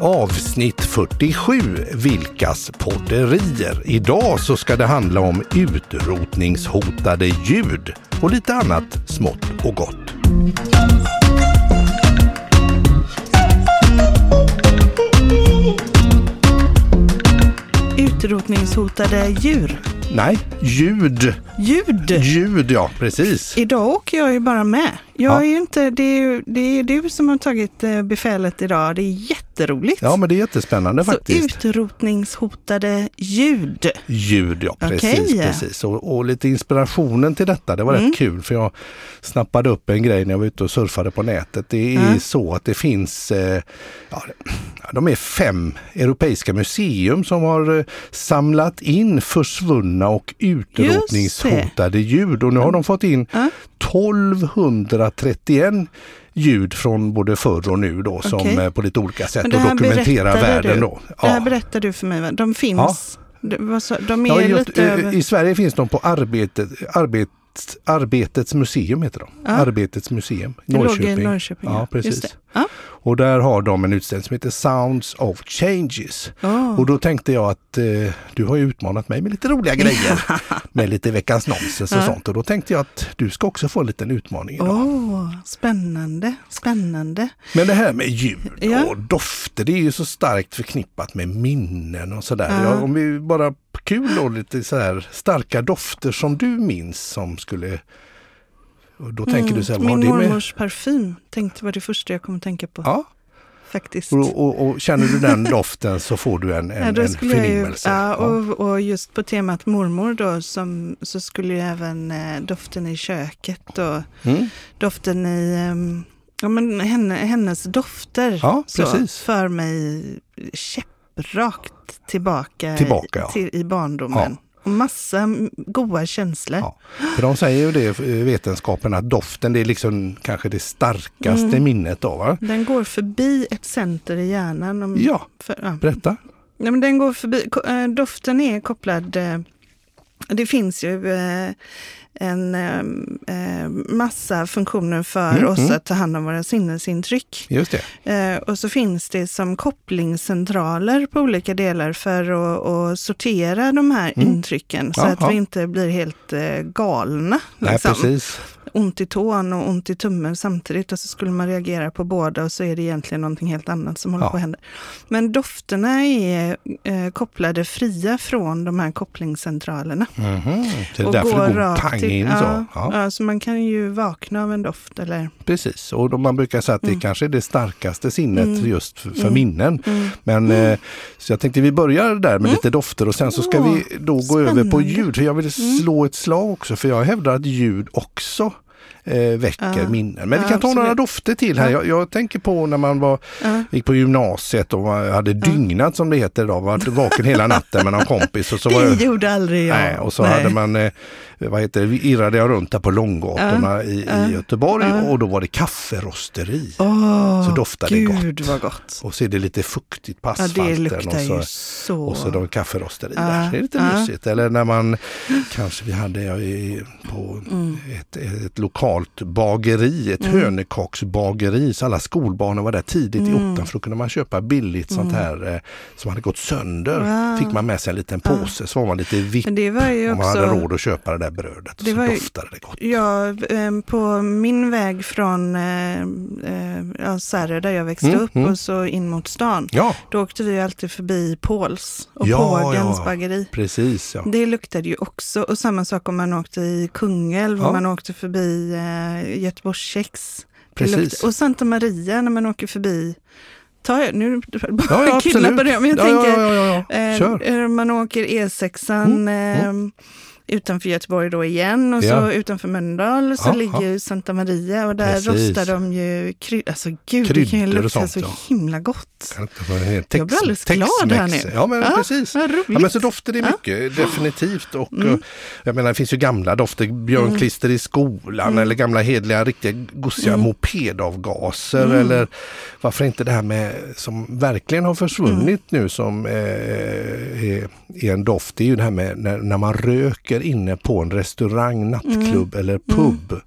avsnitt 47, Vilkas podderier. Idag så ska det handla om utrotningshotade ljud och lite annat smått och gott. Utrotningshotade djur. Nej, ljud. Ljud! Ljud, ja precis. Idag åker jag ju bara med. Jag Ja. är ju inte, det är, ju- det är du som har tagit eh, befälet idag. Det är jätteroligt. Ja, men det är jättespännande Så faktiskt. utrotningshotade ljud. ljud, ja Okej. precis. precis. Och, och lite inspirationen till detta, det var Mm. rätt kul för jag snappade upp en grej när jag var ute och surfade på nätet. Det Mm. är så att det finns, eh, ja, de är fem europeiska museum som har eh, samlat in försvunna och utrotningshotade ljud och nu har de fått in 1231 ljud från både förr och nu då som Okej. eh, på lite olika sätt Men och det här dokumenterar berättade världen du. då. Det här Ja. berättar du för mig, va? De finns. De, vad sa- de är Ja, i, Göte- lite över... I Sverige finns de på arbetet, arbet, Arbetets museum heter de. Arbetets museum, det låg Norrköping. i Norrköping. Ja, Just det. precis. Ja. Och där har de en utställning som heter Sounds of Changes. Åh. Och då tänkte jag att eh, du har ju utmanat mig med lite roliga grejer. med lite veckans nonsens och sånt. Och då tänkte jag att du ska också få en liten utmaning idag. Åh, spännande, spännande. Men det här med ljud Ja. och dofter, det är ju så starkt förknippat med minnen och sådär. Ja, om vi bara kul då, lite så här starka dofter som du minns som skulle... Och då tänker du så här, vad har Mm. Min det med... mormors parfym tänkte var det första jag kom att tänka på. Ja, Faktiskt. och, och, och känner du den doften så får du en, Ja, en, då en skulle jag ju- förnimmelse. Ja, Ja. och, och just på temat mormor då, som, så skulle ju även eh, doften i köket och Mm. doften i, ehm, ja men henne, hennes dofter Ja, så, precis. för mig käpprakt tillbaka, Tillbaka, ja. till, i barndomen. Och massa mm, goda känslor. Ja. För de säger ju det, eh, vetenskapen, att doften det är liksom kanske det starkaste Mm. minnet då, va? Den går förbi ett center i hjärnan. Om, Ja, för, ja. berätta. Nej, men den går förbi. ko- eh, Doften är kopplad. eh, Det finns ju eh, en eh, eh, massa funktioner för oss att ta hand om våra sinnesintryck. Just det. Eh, Och så finns det som kopplingscentraler på olika delar för att, att sortera de här intrycken så Jaha. att vi inte blir helt eh, galna. Nej, liksom. precis. Ont i tån och ont i tummen samtidigt och så skulle man reagera på båda och så är det egentligen någonting helt annat som håller Ja. på att hända. Men dofterna är eh, kopplade fria från de här kopplingscentralerna. Mhm. Så det är därför det går pang in så. ja, Ja. ja. så man kan ju vakna av en doft eller Precis, och då man brukar säga att Mm. det kanske är det starkaste sinnet just för, för minnen. Mm. Men, eh, så jag tänkte vi börjar där med lite dofter och sen så ska Ja, vi då gå över på spännande. Mm. ljud. För jag vill slå ett slag också, för jag hävdar att ljud också eh, väcker minnen. Men vi Ja, kan ta några absolut. dofter till här. Jag, jag tänker på när man var, gick på gymnasiet och man hade dygnat som det heter idag, varit vaken hela natten med någon kompis. Och så var jag, Det gjorde aldrig jag. Nej, och så Nej. hade man, eh, vad heter det, irrade jag runt där på långgatorna i, i Göteborg och då var det kafferosteri. Åh, så doftade det gott. Gud vad gott. Och så är det lite fuktigt på Ja, det asfalten luktar ju och, så, så. och så de kafferosteri där. Det är lite ja. mysigt. Eller när man, kanske vi hade ja, i- på Mm. ett, ett lokalt bageri, ett hönökocksbageri, så alla skolbarnen var där tidigt Mm. i ottan för då kunde man köpa billigt sånt här eh, som hade gått sönder. Fick man med sig en liten påse så var man lite vipp Men det var ju om man hade också... råd att köpa det där brödet. Och Det så var ju- doftade det gott. Ja, eh, på min väg från eh, eh, ja, Särö där jag växte upp och så in mot stan. Mm, Ja, Då åkte vi alltid förbi Påls och Ja, Pågens ja. bageri. precis. Ja. Det luktade ju också. Och samma sak om man åkte i Kungälv Ja. och man åkte förbi eh, Göteborgs Kex. Det Precis. luktade- Och Santa Maria när man åker förbi. Tar jag, nu Ja, ja, kidnappar absolut. jag, men jag Ja, tänker ja, ja, ja, ja. Eh, Kör. Mm. eh, Man åker E6 eh, utanför Göteborg då igen och Ja. så utanför Mölndal så Ja, ligger ju Santa Maria och där Precis. rostar de ju kryddor. Alltså gud, det kan ju Kryddor och lukta sånt, så ja. himla gott. Tex, Jag blir alldeles glad här nu. Ja, men Ja, precis. vad roligt. Ja, men så dofter det mycket, definitivt. Och, Mm. eh, jag menar, det finns ju gamla dofter, björnklister i skolan Mm. eller gamla hedliga, riktiga gosiga mopedavgaser. Mm. Eller varför inte det här med, som verkligen har Mm. försvunnit nu, som eh, är, är en doft, det är ju det här med när, när man röker röker inne på en Mm. restaurang, nattklubb eller pub.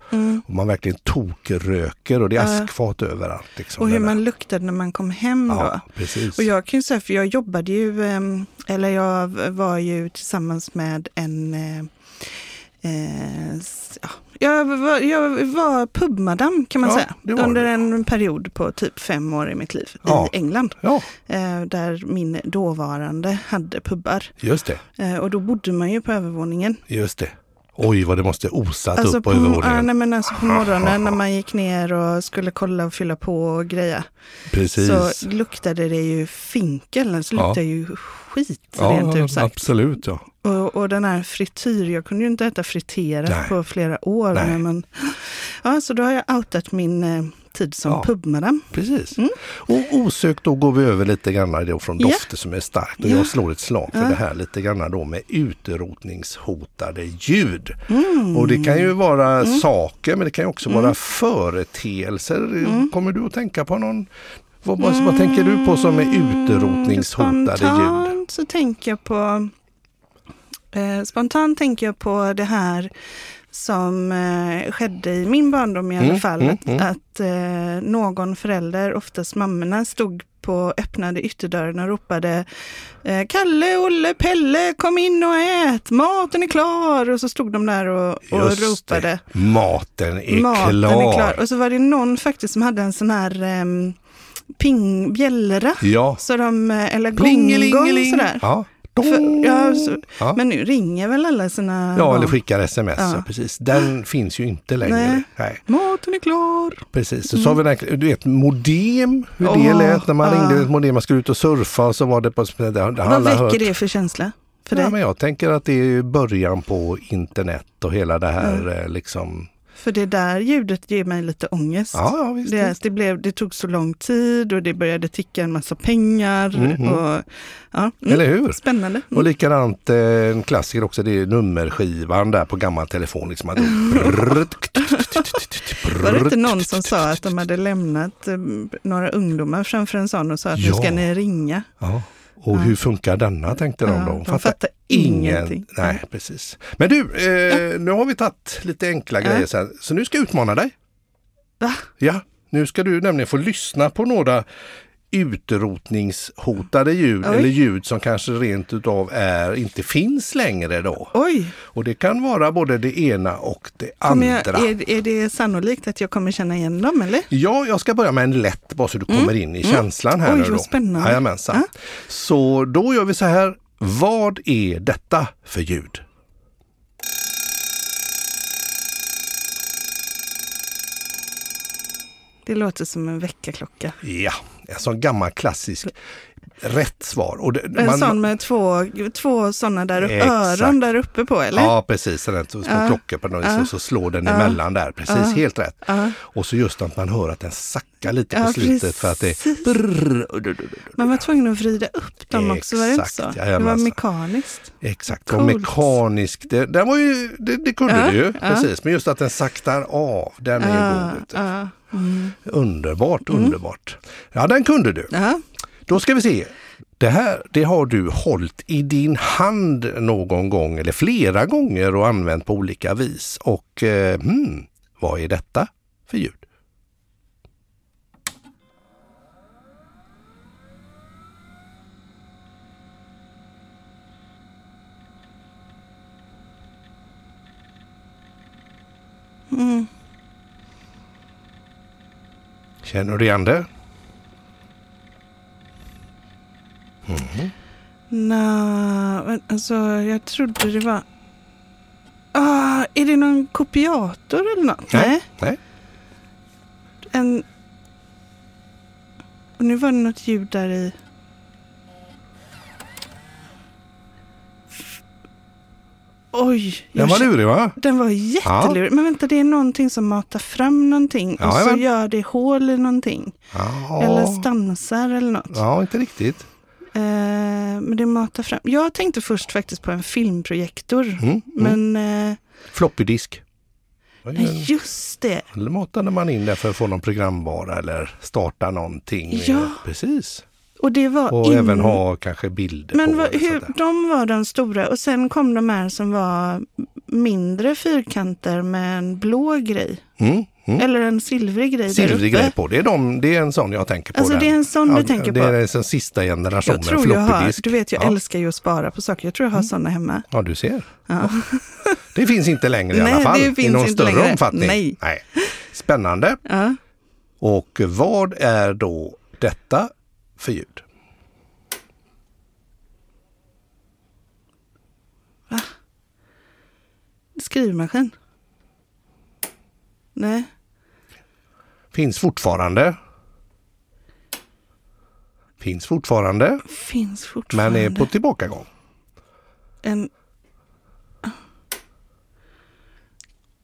Och man verkligen tokröker och det är askfat överallt. Liksom, Och hur Den där- man luktade när man kom hem ja, då. precis. Och jag kan ju säga, för jag jobbade ju, ehm, eller jag var ju tillsammans med en, eh, eh, s- ja, jag var, jag var pubmadam kan man Ja, det säga, var under du. en period på typ fem år i mitt liv Ja. i England. Ja, Eh, där min dåvarande hade pubbar. just det. Eh, och då bodde man ju på övervåningen. Alltså Just det. Oj, vad det måste osat upp på ja, övervåningen. nej, men alltså på morgonen när man gick ner och skulle kolla och fylla på och greja. Precis. Så luktade det ju finkel, alltså Ja. luktade ju skit rent ja, ut sagt. absolut. Ja. Och, och den här frityr, jag kunde ju inte äta friterat Nej. på flera år. Nej. Men, man- ja, så då har jag outat min eh, tid som Ja. pubmadam. Precis. Och osökt då går vi över lite grann då från Mm. Ja. dofter som är starkt. Och Ja. jag slår ett slag för det här lite grann då med utrotningshotade ljud. Mm. Och det kan ju vara saker men det kan ju också vara företeelser. Mm. Kommer du att tänka på någon? Vad, vad, vad tänker du på som är utrotningshotade ljud? Spontant så tänker jag på eh, Spontant tänker jag på det här som eh, skedde i min barndom i alla Mm, fall. mm, att att eh, någon förälder, oftast mammorna, stod på öppnade ytterdörren och ropade eh, Kalle, Olle, Pelle, kom in och ät, maten är klar! Och så stod de där och, och Just det. ropade. Maten är Maten klar. är klar. Och så var det någon faktiskt som hade en sån här ehm, ping, bjällra. Ja. Så de, eh, eller gong-gong Plingelingeling. sådär. Ja. Oh. För, ja, så, Ja. Men nu ringer väl alla sina Ja, barn? eller skickar sms. Ja. Ah. Ja, precis. Den finns ju inte längre. Nej. Nej. Maten är klar. Precis, så sa vi den, du vet modem, hur det Åh, lät när man ja. ringde ett modem, man skulle ut och surfa och så var det på... Det, det har Vad alla väcker hört. det för känsla? För Ja, dig? men jag tänker att det är ju början på internet och hela det här Mm. eh, liksom. För det där ljudet ger mig lite ångest. Ja, ja visst. Det, visst. det, blev, det tog så lång tid och det började ticka en massa pengar. Och, ja, mm, Mhm. Eller hur? Spännande. Och likadant eh, en klassiker också, det är nummerskivan där på gammal telefon. Liksom, att det- Var det inte någon som sa att de hade lämnat eh, några ungdomar framför en sån och sa att nu Ja. ska ni ringa? Ja. Och hur funkar denna tänkte de Ja, då? de fattar ingenting. Nej, precis. Men du, eh, nu har vi tagit lite enkla grejer så här, så nu ska jag utmana dig. Va? Ja, nu ska du nämligen få lyssna på några utrotningshotade ljud Oj. eller ljud som kanske rent utav är, inte finns längre då. Oj, Och det kan vara både det ena och det men andra. jag, är, är det sannolikt att jag kommer känna igen dem eller? Ja, jag ska börja med en lätt bara så du kommer in i känslan här Mm. Oj, nu vad då. spännande. Jajamensan. Så då gör vi så här. Vad är detta för ljud? Det låter som en väckarklocka. Ja, en sån gammal klassisk rätt svar. Och det, En sån med två, två sådana där upp, Exakt. öron där uppe på eller? Ja, precis. Den är två små klockor på något vis och så slår den emellan där. Precis, helt rätt. Och så just att man hör att den sackar lite på Ja, slutet för att det precis. brrr, Man var tvungen att vrida upp dem också, var det inte Exakt, alltså. så? Det var jajamensan. mekaniskt. Exakt, och Coolt. mekanisk. Det, den var ju, det, det kunde Ja, du ju, ja. precis. Men just att den saktar av, den är ju god. ute. Ja, Underbart, underbart. Ja, den kunde du. ja. Då ska vi se. Det här det har du hållit i din hand någon gång eller flera gånger och använt på olika vis. Och eh, hmm, vad är detta för ljud? Mm. Känner du igen det? Nå, men alltså jag trodde det var... Ah, är det någon kopiator eller något? Nej. En... Och nu var det något ljud där i... F- Oj! jag Den var känner- lurig va? Den var jättelurig. Men vänta, det är någonting som matar fram någonting och så Jajamän. gör det hål i någonting. Ja, Eller stansar eller något. ja inte riktigt. Eh, men det matar fram. Jag tänkte först faktiskt på en filmprojektor. Mm, Men eh, Floppydisk. Vad är nej, den? just det. Eller matade man in där för att få någon programvara eller starta någonting. Ja. Precis. Och det var Och in- även ha kanske bilder på. Men vad, eller sånt hur, där. de var de stora och sen kom de här som var mindre fyrkanter med en blå grej. Mm, mm. Eller en silvrig grej Silvrig där grej uppe. på. Det är, de, det är en sån jag tänker på. Alltså, den. det är en sån du tänker Det är på. den som sista generationen Jag tror jag floppydisk. har, du vet jag ja. Mm. älskar ju att spara på saker. Jag tror jag har sådana hemma. Ja, du ser. Ja. Det finns inte längre i Nej, alla fall. det finns I någon inte större längre. omfattning. Nej. Spännande. Ja. Och vad är då detta för ljud? Skrivmaskin. Nej. Finns fortfarande. Finns fortfarande, Finns fortfarande. men är på tillbakagång. en...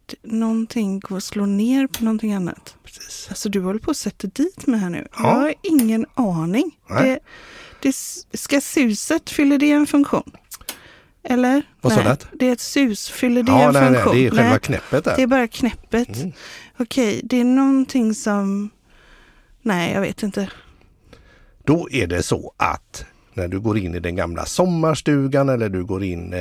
D- Någonting går att slå ner på någonting annat. Precis. Alltså du håller på att sätta dit mig här nu. Ja. Jag har ingen aning. Nej. Det, det, s- ska suset, fyller det en funktion? Eller? Vad sa nej, det? det är ett sus, fyller det ja, en nej, nej, funktion? det är själva Nej, knäppet där. Mm. det är bara knäppet. Okej, det är någonting som... Nej, jag vet inte. Då är det så att när du går in i den gamla sommarstugan eller du går in, eh,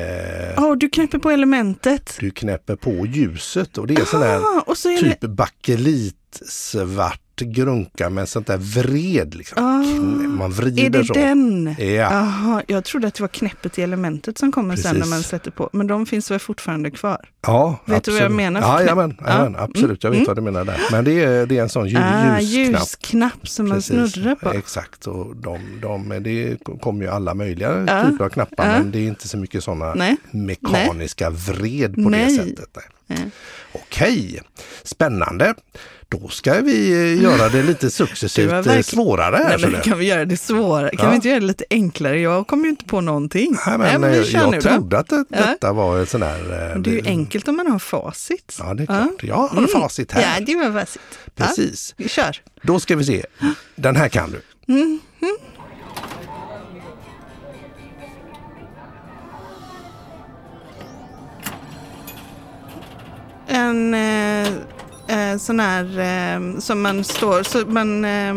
Åh, du knäpper på elementet. du knäpper på ljuset och det är sån här Ah, och så är det... typ bakelitsvart grunka med sånt där vred. Liksom. Ah, Knä- Man vrider Är det Typ så. den? Ah. Ja, Jaha, jag trodde att det var knäppet i elementet som kommer sen när Precis. man sätter på. Men de finns väl fortfarande kvar? ja, Vet du vad jag absolut. menar? Ja, jajamän, Ja. jajamän, absolut, jag vet vad du menar där. Men det är, det är en sån ljus, Ah, ljusknapp. ljusknapp som man Precis, snurrar på. Exakt, och de, de, det kommer ju alla möjliga Ja, typer av knappar ja. men det är inte så mycket sådana Nej. mekaniska vred på Nej. det sättet. Nej. Nej. Okej, spännande. Då ska vi eh, göra det lite Det successivt var eh, verkligen- svårare. här, Nej, men så det- kan vi göra det svårare? Kan Ja. vi inte göra det lite enklare? Jag kommer ju inte på någonting. Nej, men, vi eh, kör nu jag då. trodde att det, Ja. detta var en sån här... eh, Det är ju enkelt om man har facit. Ja, det är klart. Jag har facit här. Ja, det var facit. Ja, Precis. vi kör. Då ska vi se. Den här kan du. En eh, eh, sån här eh, som man står, så man... Eh,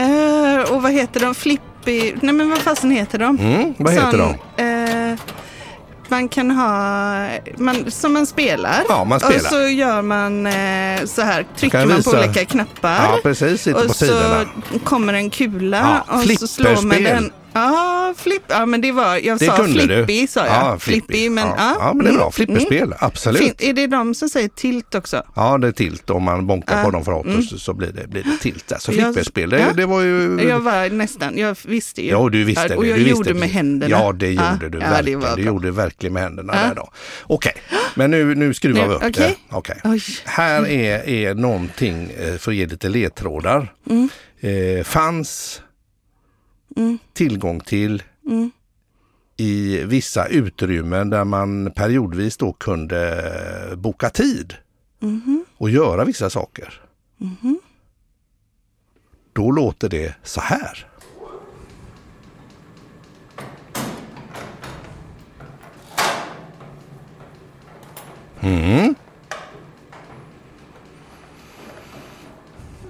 eh, och vad heter de? Flippy... Nej men vad fasen heter de? Mm, vad heter Sån, Eh, man kan ha, man, som man spelar. Ja, man spelar. Och så gör man eh, så här, trycker Kan man på visa. olika knappar. Ja, precis. Sitter och på så sidorna. kommer en kula Ja, och så slår man flipperspel. den. Ja, flipp, ja men det var, jag Det sa kunde flippy du. sa jag. Ja, flippy. men ja. Mm, ja. ja, men det är bra. Flipperspel, absolut. Fin, är det de som säger tilt också? Ja, det är tilt. Om man bonkar på dem för åt så- så blir det, blir det tilt. Alltså Mm. Jag- flipperspel, det, ja. det var ju... Jag var nästan, jag visste ju. Mm. Ja, du visste det. Och jag du visste gjorde med precis. händerna. Ja, det gjorde Ja, du ja, det verkligen. var du bra. gjorde verkligen med händerna Ja. där då. Okej, men nu, nu skruvar Nu, vi upp okej. det. Okej. Oj. Här är, är någonting, eh, för att ge lite ledtrådar. Eh, fanns tillgång till i vissa utrymmen där man periodvis då kunde eh, boka tid och göra vissa saker. Då låter det så här.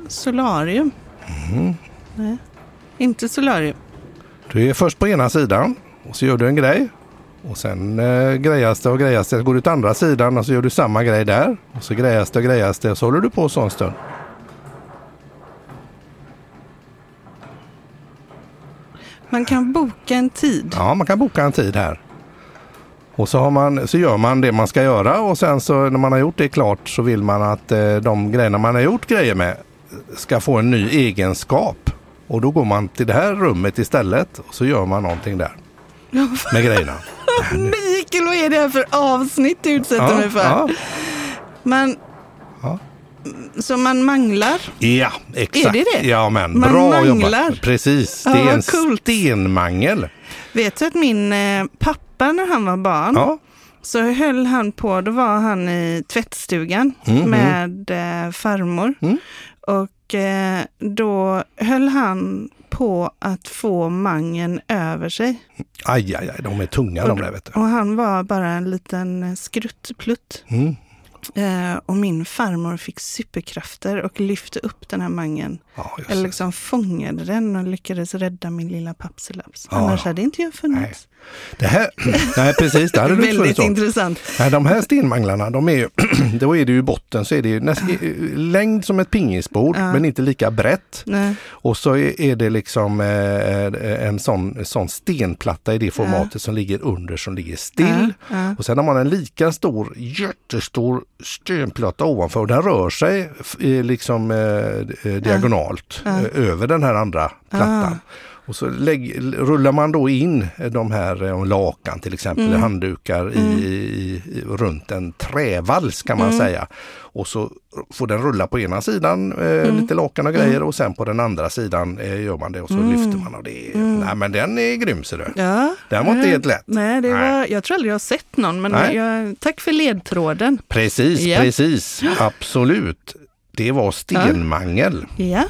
Solarium. Mm. Nej. Inte solarium. Du är först på ena sidan och så gör du en grej. Och sen eh, grejas det och grejas det. Så går du till andra sidan och så gör du samma grej där. Och så grejas det och grejas det. Och så håller du på så en stund. Man kan boka en tid. Ja, man kan boka en tid här. Och så, har man, så gör man det man ska göra och sen så när man har gjort det klart så vill man att eh, de grejerna man har gjort grejer med ska få en ny egenskap. Och då går man till det här rummet istället och så gör man någonting där med grejerna. Mikael, vad är det här för avsnitt du utsätter mig för? ja, Man, Ja. Så man manglar. Ja, exakt. Är det det? Ja, men Man bra manglar. jobbat. Precis, det Ja, är vad en coolt. Mm. stenmangel. Vet du att min eh, pappa när han var barn Ja, så höll han på, då var han i tvättstugan Mm, med eh, farmor. Och eh, då höll han på att få mangen över sig. aj, aj, aj, de är tunga de där vet du. Och han var bara en liten eh, skruttplutt. Mm. Eh, och min farmor fick superkrafter och lyfte upp den här mangen Ja, just Jag det. liksom fångade den och lyckades rädda min lilla papsilaps. Ja. Annars hade inte jag funnits. Det här, nej precis, det hade du inte Väldigt förstått. intressant. Nej, de här stenmanglarna, de är ju, då är det ju i botten så är det ju näst, längd som ett pingisbord Ja. men inte lika brett. Nej. Och så är är det liksom eh, en sån, sån stenplatta i det formatet som ligger under som ligger still. Ja, ja. Och sen har man en lika stor, jättestor stenplatta ovanför och den rör sig f- eh, liksom eh, eh, diagonalt eh, över den här andra plattan. Och så lägg, l- rullar man då in eh, de här eh, lakan till exempel, handdukar i, i, i, runt en trävals kan man säga. Och så får den rulla på ena sidan eh, lite lakan och grejer och sen på den andra sidan eh, gör man det och så lyfter man och det. är- Nej men den är grym ser du. Ja. Den var inte helt lätt. Nej, det Nej. var, jag tror aldrig jag har sett någon, men Nej. jag, tack för ledtråden. Precis, Ja. precis, absolut. Det var stenmangel. Ja.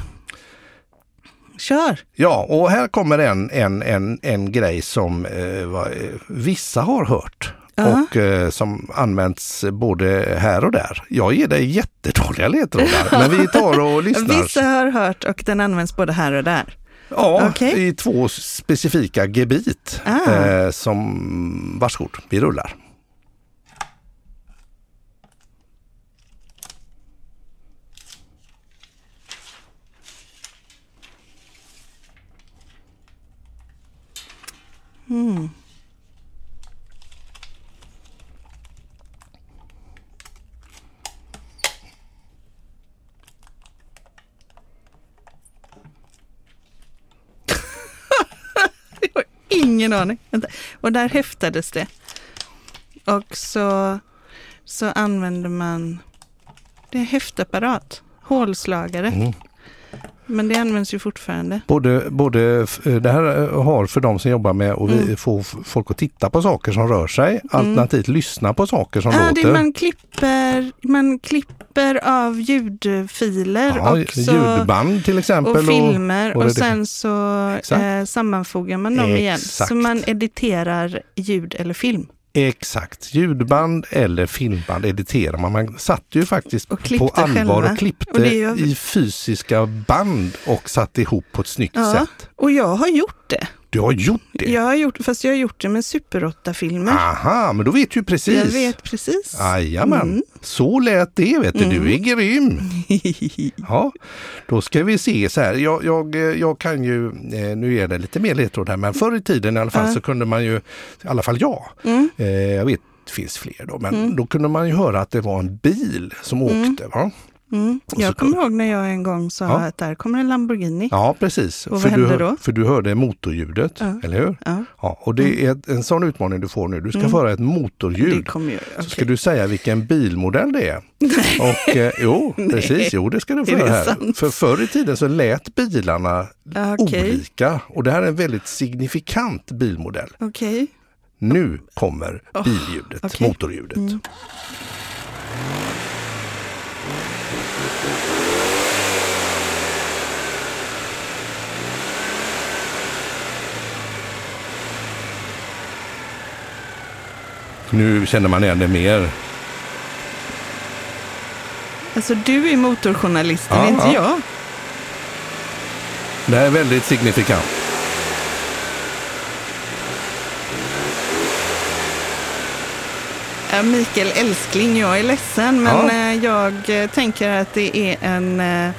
Kör! Ja, och här kommer en, en, en, en grej som eh, vad, eh, vissa har hört Ja. och eh, som används både här och där. Jag ger dig jättedåliga ledtrådar, men vi tar och lyssnar. Vissa har hört och den används både här och där. Ja, Okej. i två specifika gebit. Ah. Eh, som, varsågod, vi rullar. Jag har ingen aning. Vänta. Och där häftades det. Och så, så använder man, det är häftapparat, hålslagare. Mm. Men det används ju fortfarande. Både, både, f- det här eh, har för de som jobbar med att vi- Mm. få f- folk att titta på saker som rör sig, alternativt lyssna på saker som Ah, det låter. är man, klipper, man klipper av ljudfiler Ja, och, så, ljudband till exempel. och filmer och, och redig- sen så Exakt. eh, sammanfogar man dem igen. Exakt. Så man editerar ljud eller film. Exakt, ljudband eller filmband editerar man. Man satt ju faktiskt Och på klippte allvar själva. och klippte Och det gör vi. i fysiska band och satte ihop på ett snyggt Ja, sätt. och jag har gjort det. Du har gjort det? Jag har gjort, fast jag har gjort det med Super 8-filmer. Aha, men då vet du ju precis. Ah, Jag vet precis. Jajamän, Mm. så lät det vet du. Du är grym! Ja, då ska vi se så här. Jag, jag, eh, jag kan ju, eh, nu är det lite mer ledtråd här, men förr i tiden i alla fall så kunde man ju, i alla fall jag, Mm. eh, jag vet det finns fler då, men då kunde man ju höra att det var en bil som åkte. Va? Mm. så- Jag kommer ihåg när jag en gång sa Ja. att där kommer en Lamborghini. Ja, precis. Och vad för, du, hände hör- då? för du hörde motorljudet, eller hur? Ja. Mm. Ja, och det är ett- en sån utmaning du får nu. Du ska få höra ett Det motorljud. kommer ju... okej. Så ska du säga vilken bilmodell det är. Och, eh, jo, precis, jo det ska du få Är det göra här. sant? För förr i tiden så lät bilarna Ja, okej. olika och det här är en väldigt signifikant bilmodell. Okej. Nu kommer billjudet, Oh, okej. Mm. motorljudet. Nu känner man igen det mer. Alltså du är motorjournalisten, Ja, inte ja. jag. Det här är väldigt signifikant. Ja, Mikael Älskling, jag är ledsen, men Ja. eh, jag eh, tänker att det är en... eh,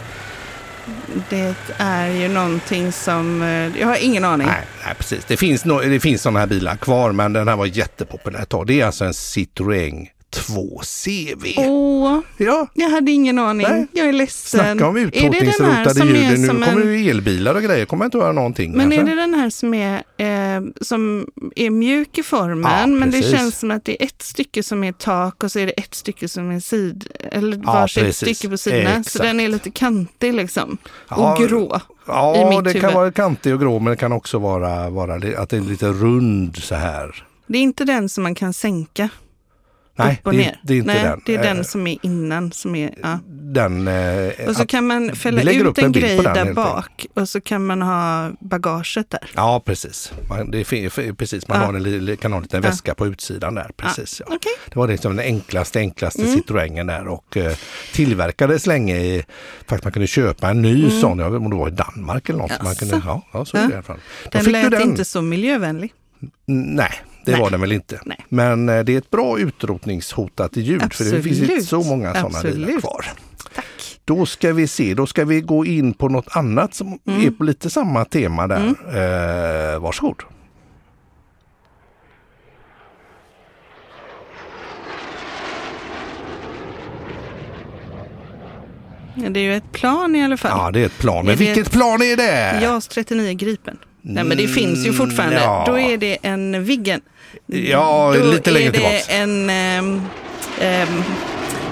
Det är ju någonting som... eh, Jag har ingen aning. Nej, nej precis. Det finns, no- det finns sådana här bilar kvar, men den här var jättepopulär ett tag. Det är alltså en Citroën 2 CV. Åh, Ja, jag hade ingen aning. Nej. jag är ledsen. Snacka om Är det utrotningsrotade den här som djur. är Nu som kommer en... ju elbilar och grejer. kommer jag inte höra någonting. Men är kanske. det den här som är, eh, som är mjuk i formen, Ja, men det precis. känns som att det är ett stycke som är tak och så är det ett stycke som är sid, eller Ja, varsitt precis. stycke på sidorna. Så Exakt. den är lite kantig liksom. Ja, och grå. i Ja, mitt det kan huvud. vara kantig och grå, men det kan också vara, vara li- att det är lite rund så här. Det är inte den som man kan sänka. Nej, upp och det är- ner. det är inte Nej, den. Det är Eh, den som är innan som är... Ja. Den, eh, Och så att- kan man vi fälla lägger ut upp en, en bild på grej den, helt där enkelt. bak och så kan man ha bagaget där. ja, precis. Man, det fin- f- precis, man Ja. har en, li- kan ha en liten väska på utsidan där. Precis, ja. Okej. Det var liksom den enklaste, enklaste Mm. Citroengen där och eh, tillverkades länge i, faktiskt man kunde köpa en ny sån, jag vet inte om det var i Danmark eller något. så Man kunde, Mm. Jaså? ja, ja, så är det i alla fall. Då Den fick du lät inte så miljövänlig. Mm, Nej, det Nej. var den väl inte. Nej. Men eh, det är ett bra utrotningshotat ljud för det finns inte Absolut. så många sådana bilar Absolut. kvar. Tack. Då ska vi se, då ska vi gå in på något annat som Mm. är på lite samma tema där. Eh, varsågod. Ja, det är ju ett plan i alla fall. Ja, det är ett plan. Men Är det vilket ett- plan är det? JAS 39 Gripen. Nej men det finns ju fortfarande. Mm, ja. Då är det en Viggen. Ja, Då lite längre är det tillbaks. en ehm, ehm,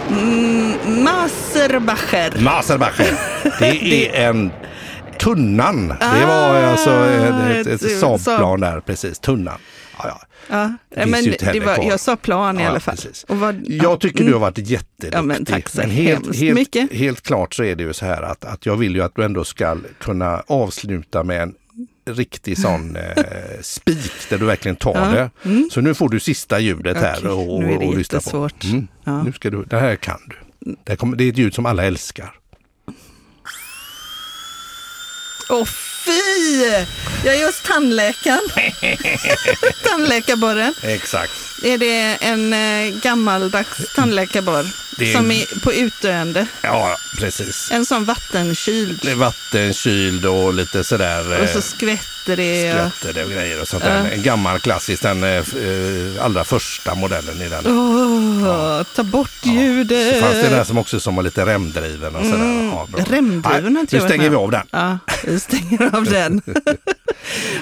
mm, Maserbacher. Maserbacher. Det är en Tunnan. Det var Ah, alltså ett, ett, ett ett Saab-plan där, precis. Tunnan. Ja, ja. Ja, finns Eh, men ju inte det heller var, kvar. jag sa plan i Ja, alla fall. precis. Och vad, ja, mm. Jag tycker du har varit jätteduktig. Ja, men tack så helt, hemskt helt, mycket. helt klart så är det ju så här att, att jag vill ju att du ändå ska kunna avsluta med en riktig sån eh, spik där du verkligen tar det. Så nu får du sista ljudet här mm. Okej, och, nu är det och lyssna på. Mm. jättesvårt. Ja. Nu ska du, det här kan du. Det, här kommer, det är ett ljud som alla älskar. Åh fy! Jag är hos tandläkaren. Tandläkarborren. Exakt. Är det en eh, gammaldags tandläkarborr Det är som en- är på utdöende? Ja, precis. En sån vattenkyld. Det är vattenkyld och lite sådär... Och eh, så skvätter det. och- skvätter det och grejer och sånt där. En gammal klassisk, den eh, f- eh, allra första modellen i den. Åh, ta bort Så ljudet. fanns det den som också som var lite remdriven och sådär. Ja, bra. Mm. Remdriven har Nej, inte Nu jag varit stänger vi med av den. Ja, vi stänger av den.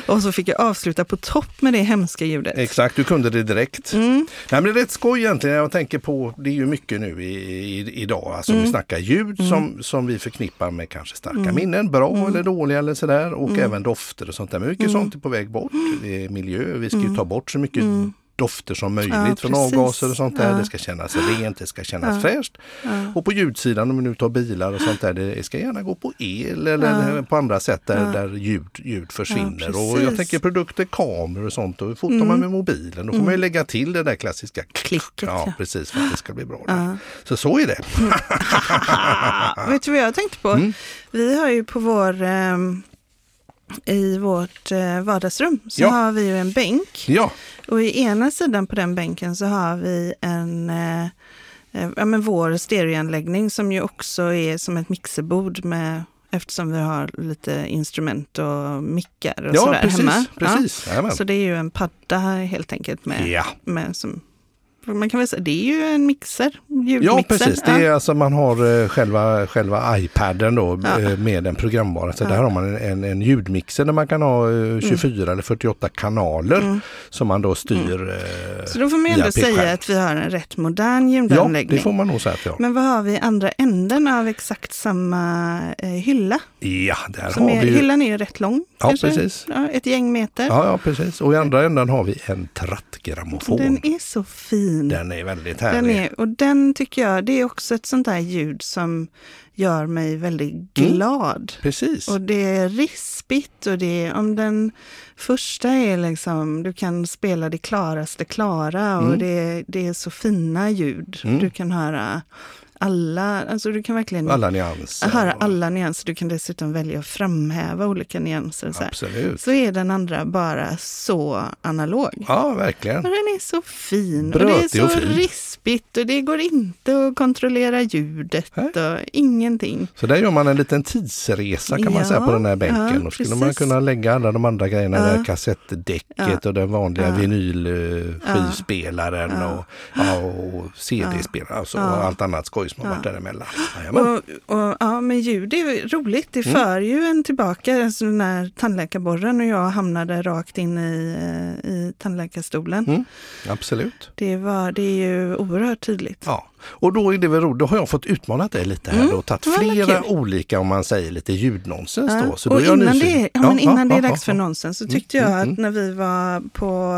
och så fick jag avsluta på topp med det hemska ljudet. Exakt, du kunde det direkt. Mm. Nej, men det är rätt skoj egentligen. Jag tänker på, det är ju mycket nu i, i, idag, alltså Mm. vi snackar ljud som, som vi förknippar med kanske starka minnen, bra Mm. eller dåliga eller sådär. Och även dofter och sånt där. Men mycket sånt är på väg bort. Det är miljö, vi ska ju ta bort så mycket dofter som möjligt Mm. Ja, från precis. avgaser och sånt där. Det ska kännas rent, det ska kännas fräscht. Och på ljudsidan om vi nu tar bilar och sånt där, det ska gärna gå på el eller på andra sätt där, där ljud, ljud försvinner. och jag precis. tänker produkter, kameror och sånt. Och fotar man med mobilen, då får man ju lägga till det där klassiska Mm. Klicket, Ja, ja. precis för att det ska bli bra. där. Så så är det. Ah, vet du vad jag tänkte på? Mm. Vi har ju på vår, ehm, i vårt eh, vardagsrum så Ja. har vi ju en bänk. Ja, Och i ena sidan på den bänken så har vi en, eh, eh, ja men vår stereoanläggning som ju också är som ett mixerbord med eftersom vi har lite instrument och mickar och ja sådär precis. hemma. precis. Ja. Jajamän. Så det är ju en padda helt enkelt med, Ja. med som, man kan väl säga, det är ju en mixer, ljudmixer. Ja, precis. Det Ja. är alltså man har eh, själva, själva iPaden då eh, med en programvara. Så där har man en, en, en ljudmixer där man kan ha Mm. eh, 24 eller 48 kanaler som man då styr. eh, Så då får man ju via ändå pekskärm. säga att vi har en rätt modern Ja, ljudanläggning. det får man nog säga att jag. Men vad har vi i andra änden av exakt samma eh, hylla? Ja, där Som har är, vi ju. Hyllan är ju rätt lång. Ja, precis. Ja, ett gäng meter. Ja, ja, precis. Och i andra änden har vi en trattgrammofon. Den, Den är så fin. är väldigt Den härlig. är, och den tycker jag, det är också ett sånt där ljud som gör mig väldigt Mm. glad. Precis. Och det är rispigt och det är, om den första är liksom, du kan spela det klaraste klara och Mm. det, det är så fina ljud. Du kan höra alla, alltså du kan verkligen Alla nyanser. höra alla nyanser. Du kan dessutom välja att framhäva olika nyanser. Och så, här. Absolut. så är den andra bara så analog. Ja, verkligen. Men den är så fin och det är Brötig så och fin. rispigt och det går inte att kontrollera ljudet och ingenting. Så där gör man en liten tidsresa kan man säga på Ja, den här bänken. ja, Då skulle man precis. kunna lägga alla de andra grejerna, där kassettdäcket och den vanliga vinylskivspelaren och, ja, och CD-spelaren alltså, och allt annat skoj som har varit däremellan. Jajamän. Och, och, ja, men ljud är ju roligt. Mm. Det för ju en tillbaka. Alltså när tandläkarborren och jag hamnade rakt in i, eh, i tandläkarstolen. Mm. Absolut. Det, var, det är ju oerhört tydligt. Ja, och då är det väl roligt. Då har jag fått utmanat dig lite här och tagit det var väl flera kul. olika, om man säger lite ljudnonsens Ja, då. Så då och är jag innan, nyfiken. det, ja, men innan det är ja, dags för ja. Mm, nonsens så tyckte jag att när vi var på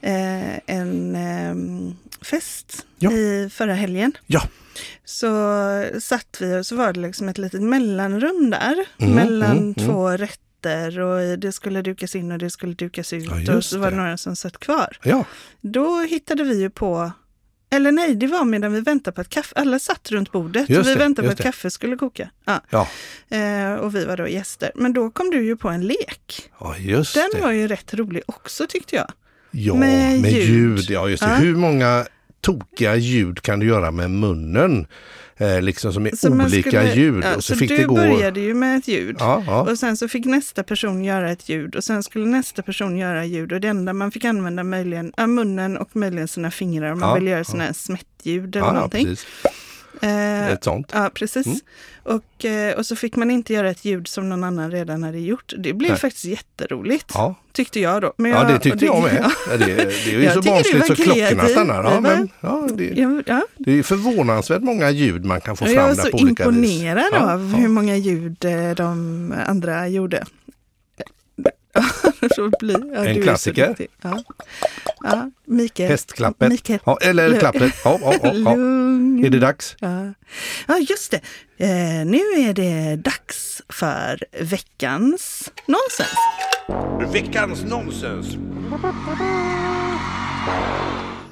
eh, en eh, fest Ja. i förra helgen. Ja, Så satt vi och så var det liksom ett litet mellanrum där. Mm, mellan mm, två rätter och det skulle dukas in och det skulle dukas ut. Ja, och just så var det det. några som satt kvar. ja, Då hittade vi ju på eller nej, det var medan vi väntade på att kaffe, alla satt runt bordet Just och vi det, väntade just på att det. kaffe skulle koka. Ja. ja. Eh, och vi var då gäster. Men då kom du ju på en lek. Ja, just Den det. var ju rätt rolig också tyckte jag. Ja, med med, ljud. ljud. Ja, just det. Ja. Hur många tokiga ljud kan du göra med munnen? Eh, liksom som är Så man olika skulle- ljud. ja, och så så fick du det gå... började ju med ett ljud. Ja, ja. Och sen så fick nästa person göra ett ljud och sen skulle nästa person göra ljud och det enda man fick använda möjligen ja, munnen och möjligen sina fingrar om man Ja, ville göra sådana här smättljud eller ja, ja, någonting. precis. Eh, Ett Mm. sånt. Ja, precis. Och, eh, och så fick man inte göra ett ljud som någon annan redan hade gjort. Det blev Nej. faktiskt jätteroligt, Ja. tyckte jag då. Men Ja, jag- det tyckte jag med. Ja, Det, det är ju Jag så tycker du var barnsligt så klockorna kreativ. stannar. Det var- Ja, men, ja, det, Ja, ja. det är förvånansvärt många ljud man kan få jag fram var där så på olika vis. imponerad Ja, av ja. hur många ljud eh, de andra gjorde. så bli, ja, du är så klassiker. duktig. Ja. Ja, Mikael. Hästklappet. Mikael. Ja, eller Lu- klappet. Ja, ja, ja, ja. Lugn. Är det dags? Ja. ja, just det. Eh, nu är det dags för veckans nonsens. Veckans nonsens.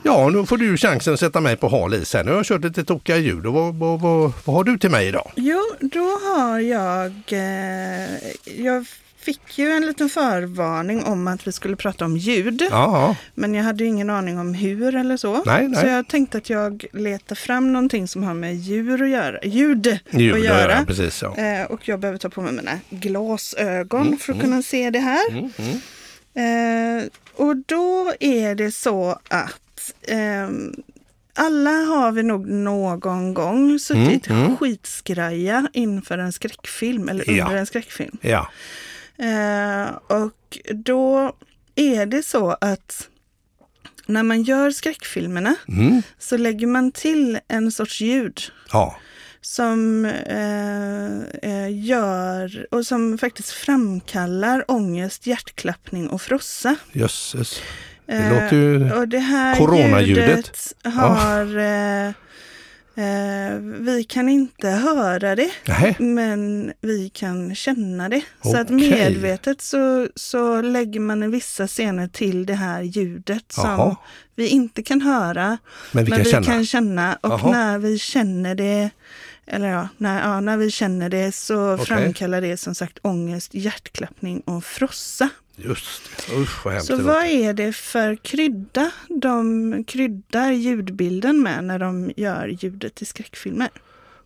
Ja, nu får du chansen att sätta mig på hal is här. Nu har jag kört lite tokiga ljud. Och vad, vad, vad, vad har du till mig idag? Jo, då har jag... Eh, jag fick ju en liten förvarning om att vi skulle prata om ljud. Ja, ja. Men jag hade ju ingen aning om hur eller så. Nej, nej. Så jag tänkte att jag letar fram någonting som har med djur att göra. Ljud, ljud att att göra. göra. Precis, ja. Mm, Eh, och jag behöver ta på mig mina glasögon för att kunna se det här. Eh, och då är det så att ehm, alla har vi nog någon gång suttit Mm, skitskraja inför en skräckfilm eller under Ja. en skräckfilm. ja. Eh, och då är det så att när man gör skräckfilmerna så lägger man till en sorts ljud Ja, som eh, eh, gör och som faktiskt framkallar ångest, hjärtklappning och frossa. jösses. Det Eh, låter ju... och det här coronaljudet. ljudet har... Eh, eh, vi kan inte höra det. Nej. Men vi kan känna det. Så att Okej. medvetet så, så lägger man i vissa scener till det här ljudet som Jaha. vi inte kan höra. Men vi kan känna. kan känna. Och Jaha. när vi känner det, eller ja, när, ja, när vi känner det så Okej. framkallar det som sagt ångest, hjärtklappning och frossa. Just det. Usch, vad hemskt Så det vad låter. är det för krydda de kryddar ljudbilden med när de gör ljudet i skräckfilmer?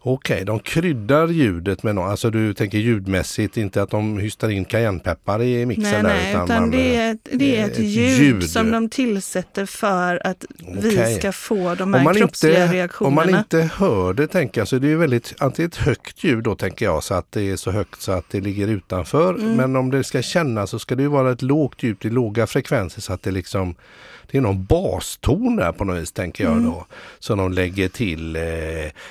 Okej, de kryddar ljudet med något. Alltså du tänker ljudmässigt, inte att de hystar in cayennepeppar i mixen Nej, där. eh, nej, utan, det, är ett, det är ett, ljud, som de tillsätter för att vi Okej. ska få de om här man, kroppsliga inte, om reaktionerna. man inte hör det tänker jag så är det ju väldigt, att det är ett högt ljud då tänker jag så att det är så högt så att det ligger utanför. Mm. Men om det ska kännas så ska det ju vara ett lågt ljud i låga frekvenser så att det liksom det är någon baston där på något vis tänker Mm. jag då. Som de lägger till eh,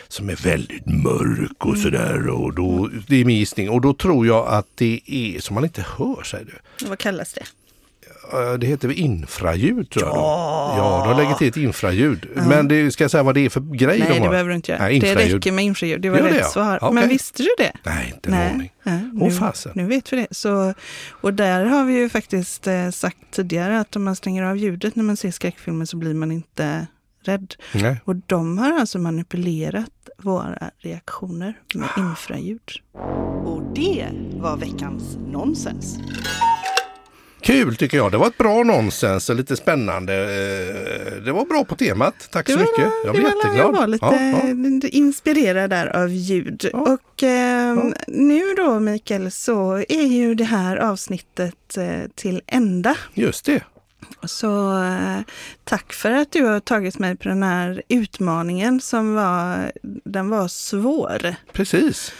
som är väldigt mörk Mm. och sådär. Och då, det är min gissning. Och då tror jag att det är som man inte hör säger du. Vad kallas det? Eh, Det heter väl infraljud tror jag. Ja, ja de lägger till ett infraljud. Men det, ska jag säga vad det är för grej de Nej, har? det behöver du inte göra. Nej, det infraljud. räcker med infraljud. Det var Gör det, rätt ja. svar. Ja, Men okej. visste du det? Nej, inte en aning. nej, Åh, nu, fasen. nu vet vi det. Så, och där har vi ju faktiskt eh, sagt tidigare att om man stänger av ljudet när man ser skräckfilmer så blir man inte rädd. Nej. Och de har alltså manipulerat våra reaktioner med Ah. infraljud. Och det var veckans nonsens. Kul tycker jag. Det var ett bra nonsens och lite spännande. Eh, Det var bra på temat. Tack Det så var, mycket. Jag det blev var, jätteglad. jag var lite Ja, inspirerad där av ljud. Och ehm, nu då Mikael så är ju det här avsnittet eh, till ända. ja. Just det. Så eh, tack för att du har tagit mig på den här utmaningen som var, den var svår. Precis.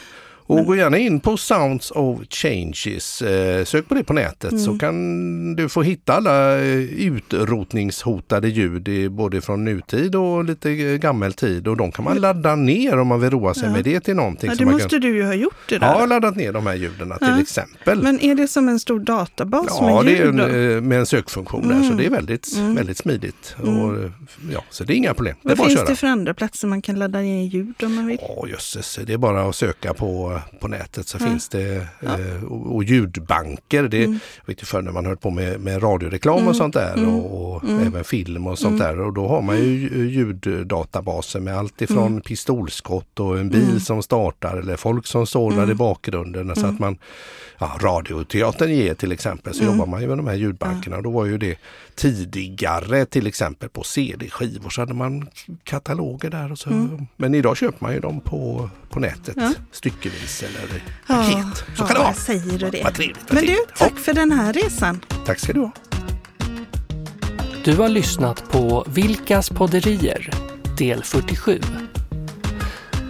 Och gå gärna in på Sounds of Changes. Eh, Sök på det på nätet Mm. så kan du få hitta alla eh, utrotningshotade ljud i- både från nutid och lite eh, gammal tid. Och de kan man ladda ner om man vill roa sig med det till någonting. Ja, det som man måste kan... du ju ha gjort det Ja, jag har där. laddat ner de här ljuden till Ja. exempel. Men är det som en stor databas Ja, med det är ljud? en, då? Mm. eh, med en sökfunktion där, så det är väldigt, väldigt smidigt. Och, eh, ja, så det är inga problem. Det är Vad bara att Mm. finns köra. det för andra platser man kan ladda in ljud om man vill? Ja, jösses. Det är bara att söka på, på nätet så finns det eh, och, och ljudbanker. Det jag vet ju förr när man höll på med, med radioreklam och sånt där och, och även film och sånt där. Och då har man ju eh, ljuddatabaser med allt ifrån pistolskott och en bil som startar eller folk som står där i Mm. bakgrunden. Så att man, ja, radioteatern ger till exempel Mm. så jobbar man ju med de här ljudbankerna. Och då var ju det tidigare till exempel på CD-skivor så hade man kataloger där. Och så. Mm. Men idag köper man ju dem på, på nätet styckevis eller i paket. Så kan det vara. jag säger du det. Vad trevligt, vad Men du, trevligt. tack för den här resan. Tack ska du ha. Du har lyssnat på Vilkas podderier, del 47.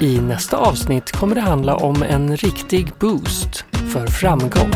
I nästa avsnitt kommer det handla om en riktig boost för framgång.